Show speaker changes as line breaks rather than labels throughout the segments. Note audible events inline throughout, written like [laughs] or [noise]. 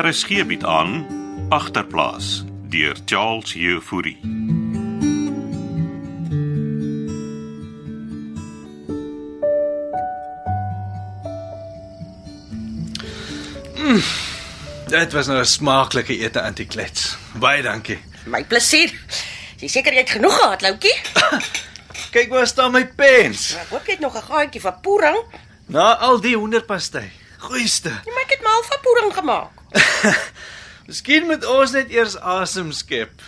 RSG bied aan agterplaas deur Charles Jefouri.
Dit was nou 'n smaaklike ete antiklets. Baie dankie.
My plesier. Jy is seker jy het genoeg gehad, Loutjie?
Kyk waar staan my pens.
Ek hoop jy het nog 'n gaatjie van poering.
Na al die hoenderpastei. Goeiste. [laughs]
Jy maak dit mal van poering gemaak.
Miskien moet ons net eers asem skep.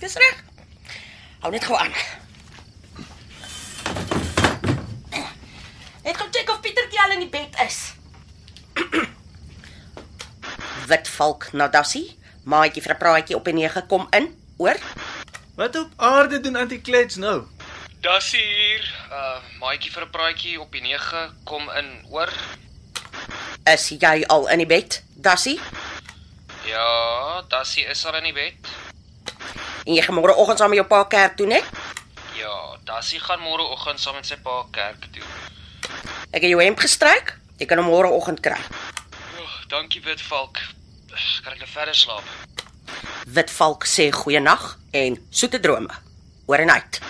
Dis reg. Hou net gou aan. Ek kom kyk of Pietertjie al in die bed is. [clears throat] Wit valk Nadassie, maatjie vir 'n praatjie op en neer gekom in, hoor?
Wat op aarde doen antiklets nou?
Das hier, uh maatjie vir 'n praatjie op die 9 kom in, hoor?
Is jy al in die bed, Dassie?
Ja, Dassie is al in die bed.
En jy gaan môreoggend saam met jou pa kerk toe, né?
Ja, Dassie gaan môreoggend saam met sy pa kerk toe.
Ek het jou hemp gestryk. Jy kan hom môreoggend kry.
Oh, dankie Witvalk. Kan ek nou verder slaap?
Witvalk sê goeienag en soete drome. Oor en uit.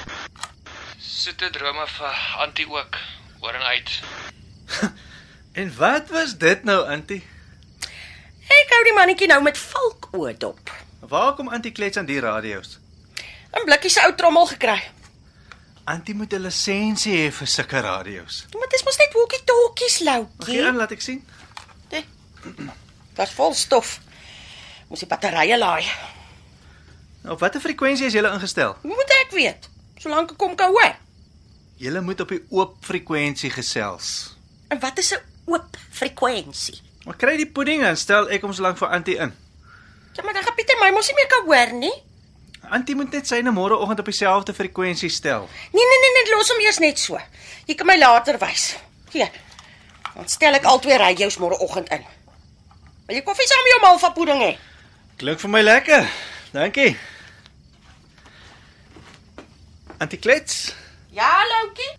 Soete drome vir Antie ook. Hoor en uit.
En wat was dit nou, antie?
Ek hou die mannetjie nou met valk oë dop.
Waar kom antiklets aan die radio's?
'n Blikkie se ou trommel gekry.
Antie moet 'n lisensie hê vir sulke radio's.
Maar dit is mos net hoekie-tokkies
Gee aan,
loutjie.
laat ek sien.
Daar's vol stof. Moes die batterye laai.
Nou, Op watter frekwensie is jy ingestel?
Hoe moet ek weet? Solank ek kom kan hoor.
Jy moet op die oop frekwensie gesels.
En wat is 'n oop frekwensie?
Maar kry die pudding en stel ek hom so lank vir antie in.
Ja, maar dan gaan Pieter my mos nie meer kan hoor nie.
Antie moet net syne môreoggend op dieselfde frekwensie stel.
Nee nee nee, nee los hom eers net so. Jy kan my later wys. Hier. Dan stel ek al twee radio's môreoggend in. Wil jy koffie saam met jou malva pudding hê?
Klink vir my lekker. Dankie. Antiklets,
Ja, Loukie.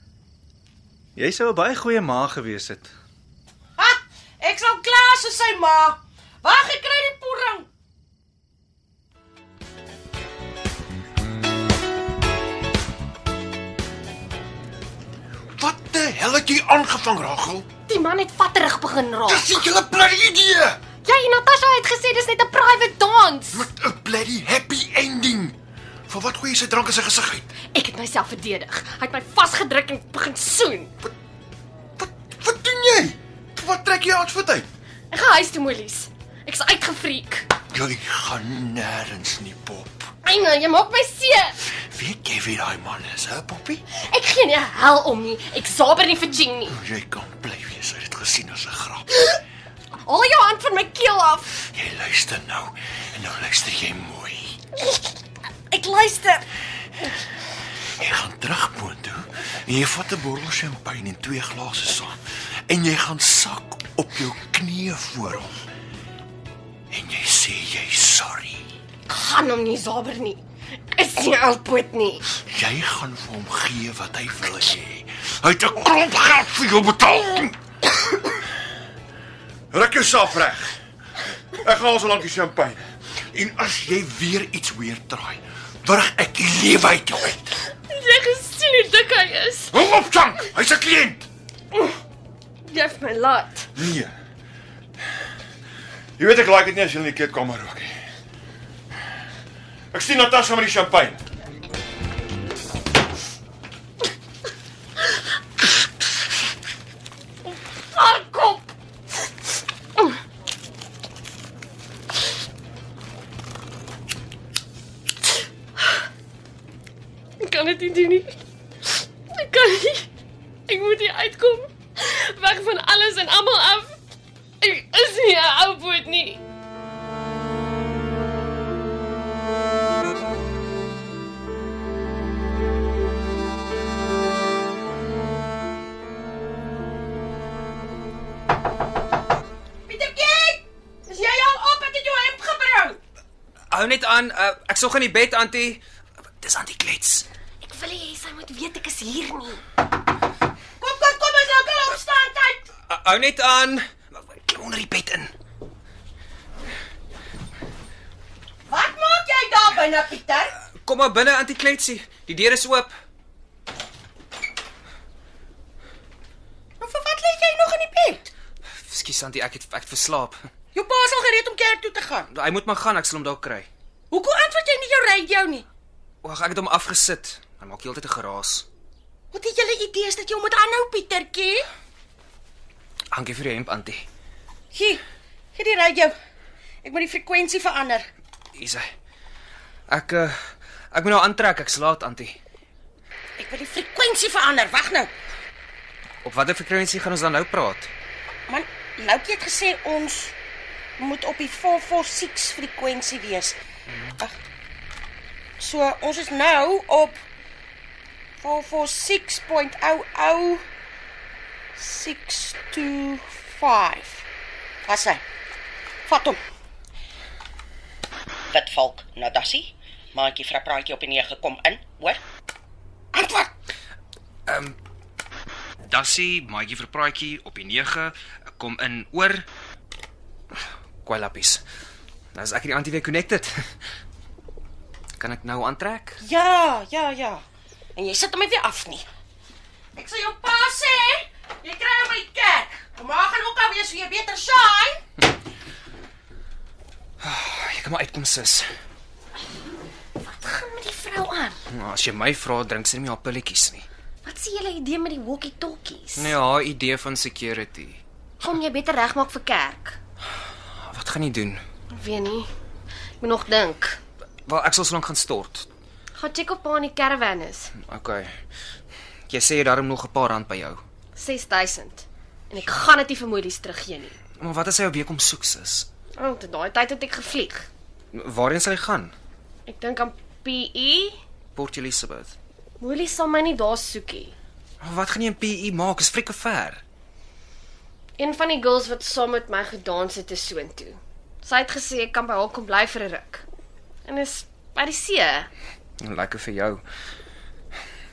jy sou 'n baie goeie ma gewees het.
Ha, ek sal klaar so sy ma. Wag, ek kry die pudding.
Wat die hel het jy aangevang, Rachel?
Die man het vatterig begin raak.
Dis 'n hele bloody idee
Jy en Natasha het gesê dis net 'n private dance.
met 'n bloody happy ending. Vir wat gooi jy sy drank in sy gesig uit?
Ek het myself verdedig. Hy het my vasgedruk en begin soen.
Wat wat doen jy? Vir Wat trek jy jou voet uit?
Ek gaan huis toe, Molies. Ek's uitgefriek.
Jy gaan nêrens nie, Pop.
Eina, jy maak my seer.
Weet jy wie daai man is, hè, Poppie?
Ek gee nie 'n hel om nie. Ek saber nie vir Jean nie.
Jy kan bly wees, hy het dit gesien as 'n grap.
Haal jou hand van my keel af.
Jy luister nou en nou luister jy mooi.
Ek luister.
Jy gaan terug boontoe en jy vat 'n bottel champagne en twee glase saam en jy gaan sak op jou knieë voor hom. En jy sê jy sorry.
Ek gaan hom nie saber nie. Is nie alpoot nie.
Jy gaan vir hom gee wat hy wil hê. Hy het 'n klomp geld vir jou betaal. Rek jouself reg. Ek gaan so lank die champagne. En as jy weer iets weer draai, wurg ek die lewe uit jou uit.
Jy gesien hoe dik hy is.
Hou op, Jank. Hy's 'n kliënt.
Jy het my laat.
Nee. Jy weet ek like dit nie as jy in die kleedkamer rook nie. Ek sien Natasha met die champagne.
Haar kop. Ek kan dit nie doen nie. Ek kan nie. Ek moet hier uitkom. Weg van alles en almal af. Ek is ja, nie 'n ou boot nie.
Pietertjie, is jy al op? Ek het jou hemp gebring.
Hou net aan.
eh,
Uh, ek sog in die bed, Antie. Dis Antie klets.
Ek wil hê sy moet weet ek is hier nie.
Kom, kom, kom, ons
Eh,
gaan opstaan tyd.
Uh, hou net aan. Klim onder die bed in.
byna Pieter.
Kom maar binne Auntie Kletsie. Die deur is oop.
Nou vir wat lê jy nog in die bed?
Ekskuus Auntie, ek het ek het verslaap.
Jou pa is al gereed om kerk toe te gaan.
Hy moet maar gaan, ek sal hom dalk kry.
Hoekom antwoord jy nie jou radio nie?
Wag, ek het hom afgesit. Hy maak heeltyd 'n geraas.
Wat het julle idees dat jy hom moet aanhou, Pietertjie?
Dankie vir die hemp Auntie.
Gie, gee die radio. Ek moet die frekwensie verander.
Hier's hy. Ek uh, ek moet nou aantrek, ek's laat Auntie.
Ek wil die frekwensie verander. Wag nou.
Op watter frekwensie gaan ons dan nou praat?
Man, Loukie het gesê ons moet op die 446 frekwensie wees. Ag. So, ons is nou op 446.00625. Wat sê? Vat hom. Wat valk, Nadassie? Maatjie vra praatjie op en neer gekom in, hoor? Antwoord.
Dassie, maatjie vir praatjie op die 9, kom in oor Kwai lappies. Nou is ek hierdie Auntie weer connected. [laughs] Kan ek nou aantrek?
Ja, ja, ja. En jy sit hom net weer af nie. Ek sê jou pa sê, jy kry hom by die kerk. Kom maar gaan ook al weer so jy beter shine.
Ja, Jy kan maar uitkom sis.
Gaan met die vrou aan.
Nou, as jy my vra, drink sy nie meer haar pilletjies nie.
Wat s'ie hele idee met die walkie-talkies?
Nee, haar idee van security.
Gaan jy beter regmaak vir kerk?
Ah, Wat gaan jy doen?
Weet nie. Ek moet nog dink.
Wel, ek sal so lank gaan stort.
Gaan check op pa in die caravan is.
Okay. Jy sê jy het darm nog 'n paar rand by jou.
6000. En ek gaan dit nie vir moeilies teruggee nie.
Maar wat as hy op week kom soek sis?
Want oh, daai tyd het ek gevlieg.
Waarheen sal hy gaan?
Ek dink aan PE.
Port Elizabeth.
Moeilies sal my nie daar soekie.
Maar wat gaan jy in PE maak? Is frikke ver.
Een van die girls wat saam met my gedans het, is soontoe. Sy het gesê ek kan by haar kom bly vir 'n ruk. En is by die see.
Lekker vir jou.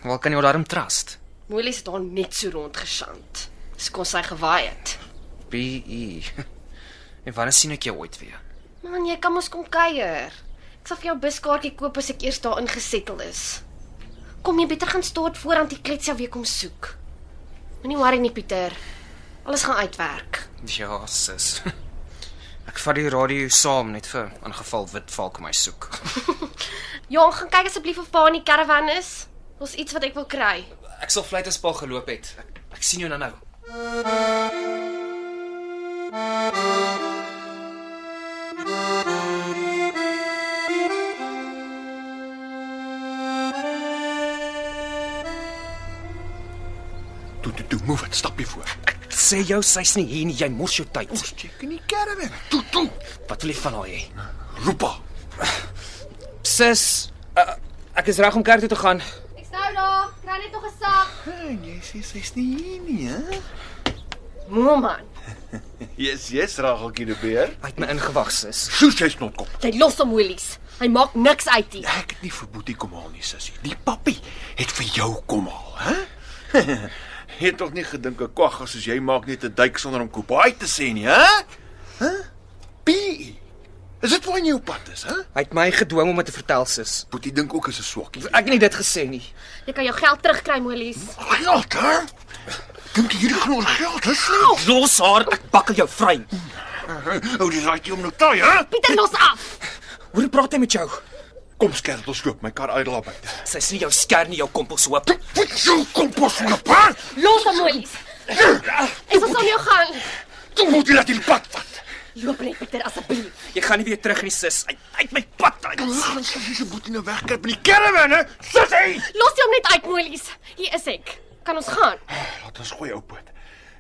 Wel kan jy haar darm trust.
Moeilies het haar net so rondgesjant. Skon sy gewaai het.
PE. E. [laughs] En wanneer sien ek jou ooit weer?
Man, jy kan mos kom kuier. Ek sal vir jou buskaartjie koop as ek eers daarin gesettel is. Kom jy beter gaan staan voor aan die kletsie weer kom soek. Moenie worry nie, Pieter. Alles gaan uitwerk.
Ja, sis. [laughs] Ek vat die radio saam net vir aangeval witvalk my soek.
[laughs] Ja, gaan kyk asseblief of pa in die karavan is. Ons iets wat ek wil kry.
Ek sal vlei as pa geloop het. Ek, ek sien jou nou nou.
Toe toe toe, move dit stapie voor.
Sê jou sy's nie hier nie, jy mors jou tyd.
Ons check in die caravan. Toe toe,
Wat wil jy van haar hê?
roep haar.
Sis, uh, ek is reg om kerk toe te gaan.
Ek snou daar. Kry net nog 'n sak.
En jy sê sy's nie hier nie, hè?
Moe man.
Yes, yes, Rageltjie die beer.
Hy het my ingewag, sis.
Soos jy's not kom.
Jy los hom Willies. Hy maak niks uit nie.
Ek het nie vir Boetie kom haal nie, sussie. Die pappie het vir jou kom haal, hè? [laughs] Jy het tog nie gedink 'n kwagga soos jy maak net 'n duik sonder om koepaai te sê nie, hè? Hæ? Pie. Is dit waar jy op pad is, hè?
Hy het my gedwing om dit te vertel, sis.
Boetie dink ook is 'n swakkie.
Ek het nie dit gesê nie.
Jy kan jou geld terugkry, Willies.
Geld, hè? Dink jy hierdie gaan oor geld, hè? Slaap.
Los haar, ek bakkel jou vry.
[laughs] Hou dis raak jy om nou taai, hè?
Pieter los af.
Hoe praat hy met jou?
Kom skerp ons loop, my kar uitlaai buite.
Sy's nie jou sker nie, jou kompelshoop.
Wat jou kompos loop, hè?
Los hom Willies. Ek sal saam jou [laughs] gaan.
Toe moet jy laat die pad vat.
Loop net Pieter asseblief.
Jy gaan nie weer terug nie, sis. Uit, uit my pad uit.
Ons gaan sê jy moet nou wegkruip in die caravan, hè? Sussie!
Los hom net uit, Willies. Hier is ek. Kan ons gaan?
Laat ons gooi ou poot.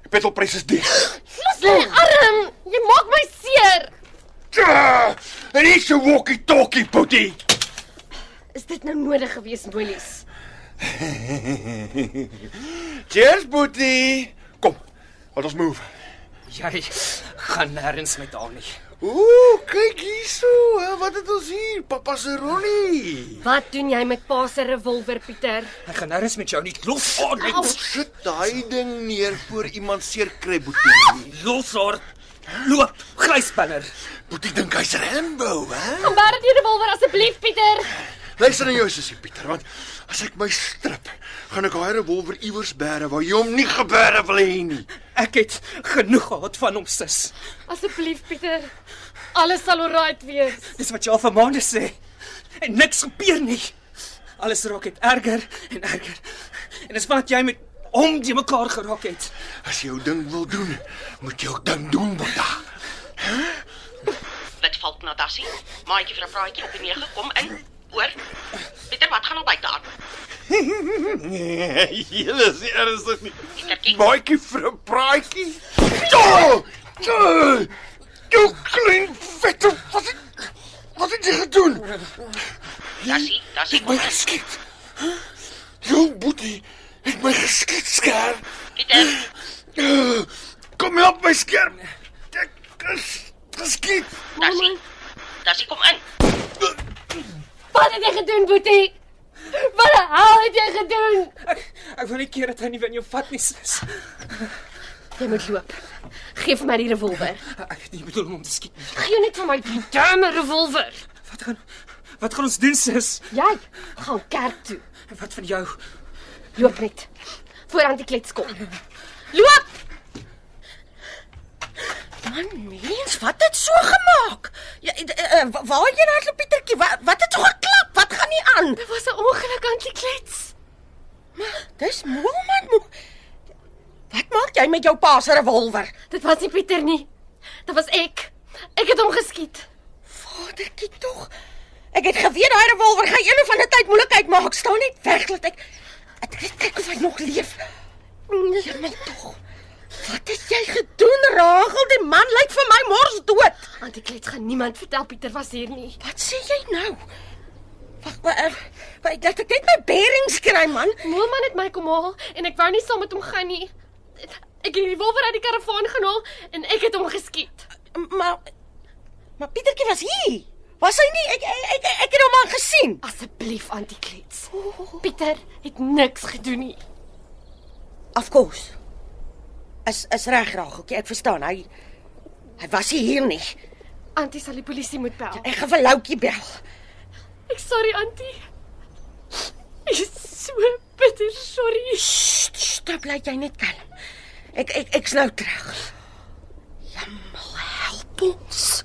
Die petrolpryse is duur.
Los my arm. Jy maak my seer.
Ja, En hier is 'n walkie-talkie, Boetie.
Is dit nou nodig gewees, Willies?
Cheers, Boetie. Kom. Laat ons move.
Jy gaan nêrens met haar nie.
Ooh, kyk hierso. hè, Wat het ons hier? Papa se rollie.
Wat doen jy met pa se revolver, Pieter?
Ek gaan nêrens met jou nie. Los haar, net.
Sit daai ding neer voor iemand seer kry, Boetie.
los haar.
Loop, gryspanner.
Moet ek dink hy's Rambo, hè?
Kom bær die revolver asseblief, Pieter.
Luister na jou sussie Pieter, want as ek my strip, gaan ek daai revolver iewers bære waar jy hom nie gebære wil hê nie.
Ek het genoeg gehad van hom sis.
Asseblief, Pieter. Alles sal oukei wees.
Dis wat jy al vir maande sê. En niks gebeur nie. Alles raak net erger en erger. En dis wat jy met hom die mekaar geraak het.
As jy jou ding wil doen, moet jy jou ding doen, Botta.
Dit val na Dassie. Maatjie vir 'n praatjie op die 9 kom in. Hoor? Pieter, wat gaan nou op by daar?
Nee, julle is nie ernstig nie.
Pietertjie,
Maatjie vir 'n praatjie. Ja! Ja! Jou klein vette wat het, wat het jy gedoen?
Dassie, Dassie,
Het my geskiet. Jou boetie het my geskiet skerp.
Pieter.
Kom help my skerp. Ek is geskiet.
Dassie. Dassie kom in.
Wat het jy gedoen, Boetie? Wat die hel het jy gedoen?
Ek ek wil nie keer dat hy nie weer in jou vat nie sis.
Jy moet loop. Geef my die revolver.
Ek het nie bedoel om hom te skiet nie.
Gee net vir my die dumme revolver.
Wat gaan Wat gaan ons doen sis?
Jy gaan kerk toe.
En wat van jou?
Loop net. Vooraan die klets kom. Loop.
Man, mens, wat het so gemaak? Ja, eh, eh, wa- waar jy nou loop Pietertjie? Wat wat het so geklap? Wat gaan nie aan?
Dit was 'n ongeluk aan die klets.
Dis mooi man. Moe. Wat maak jy met jou pa se revolver?
Dit was nie Pieter nie. Dit was ek. Ek het hom geskiet.
Vadertjie tog. Ek het geweet daai revolver gaan een van die tyd moeilikheid maak. Staan net weg dat ek ek net kyk of hy nog leef. Nee, maar tog. Wat het jy gedoen, Ragel? Die man lyk vir my mors dood.
Aan die klets gaan niemand vertel Pieter was hier nie.
Wat sê jy nou? Wag, wag, wag, dat ek net my bearings kry, man.
Moelman het my kom haal en ek wou nie saam met hom gaan nie. Ek het die revolver uit die karavaan gehaal en ek het hom geskiet.
Maar maar Pietertjie was hier. Was hy nie? Ek ek ek, ek het hom al gesien.
Asseblief aan die klets. Pieter het niks gedoen nie.
Of course. Is is reg, Rageltjie. Ek verstaan. Hy hy was nie hier nie.
Antie sal die polisie moet bel.
Ek gaan vir Loukie bel.
Ek sorry Antie. Ek is so bitter sorry.
Sst, sst, dan bly jy net kalm. Ek ek ek's nou terug. Jammel, help ons.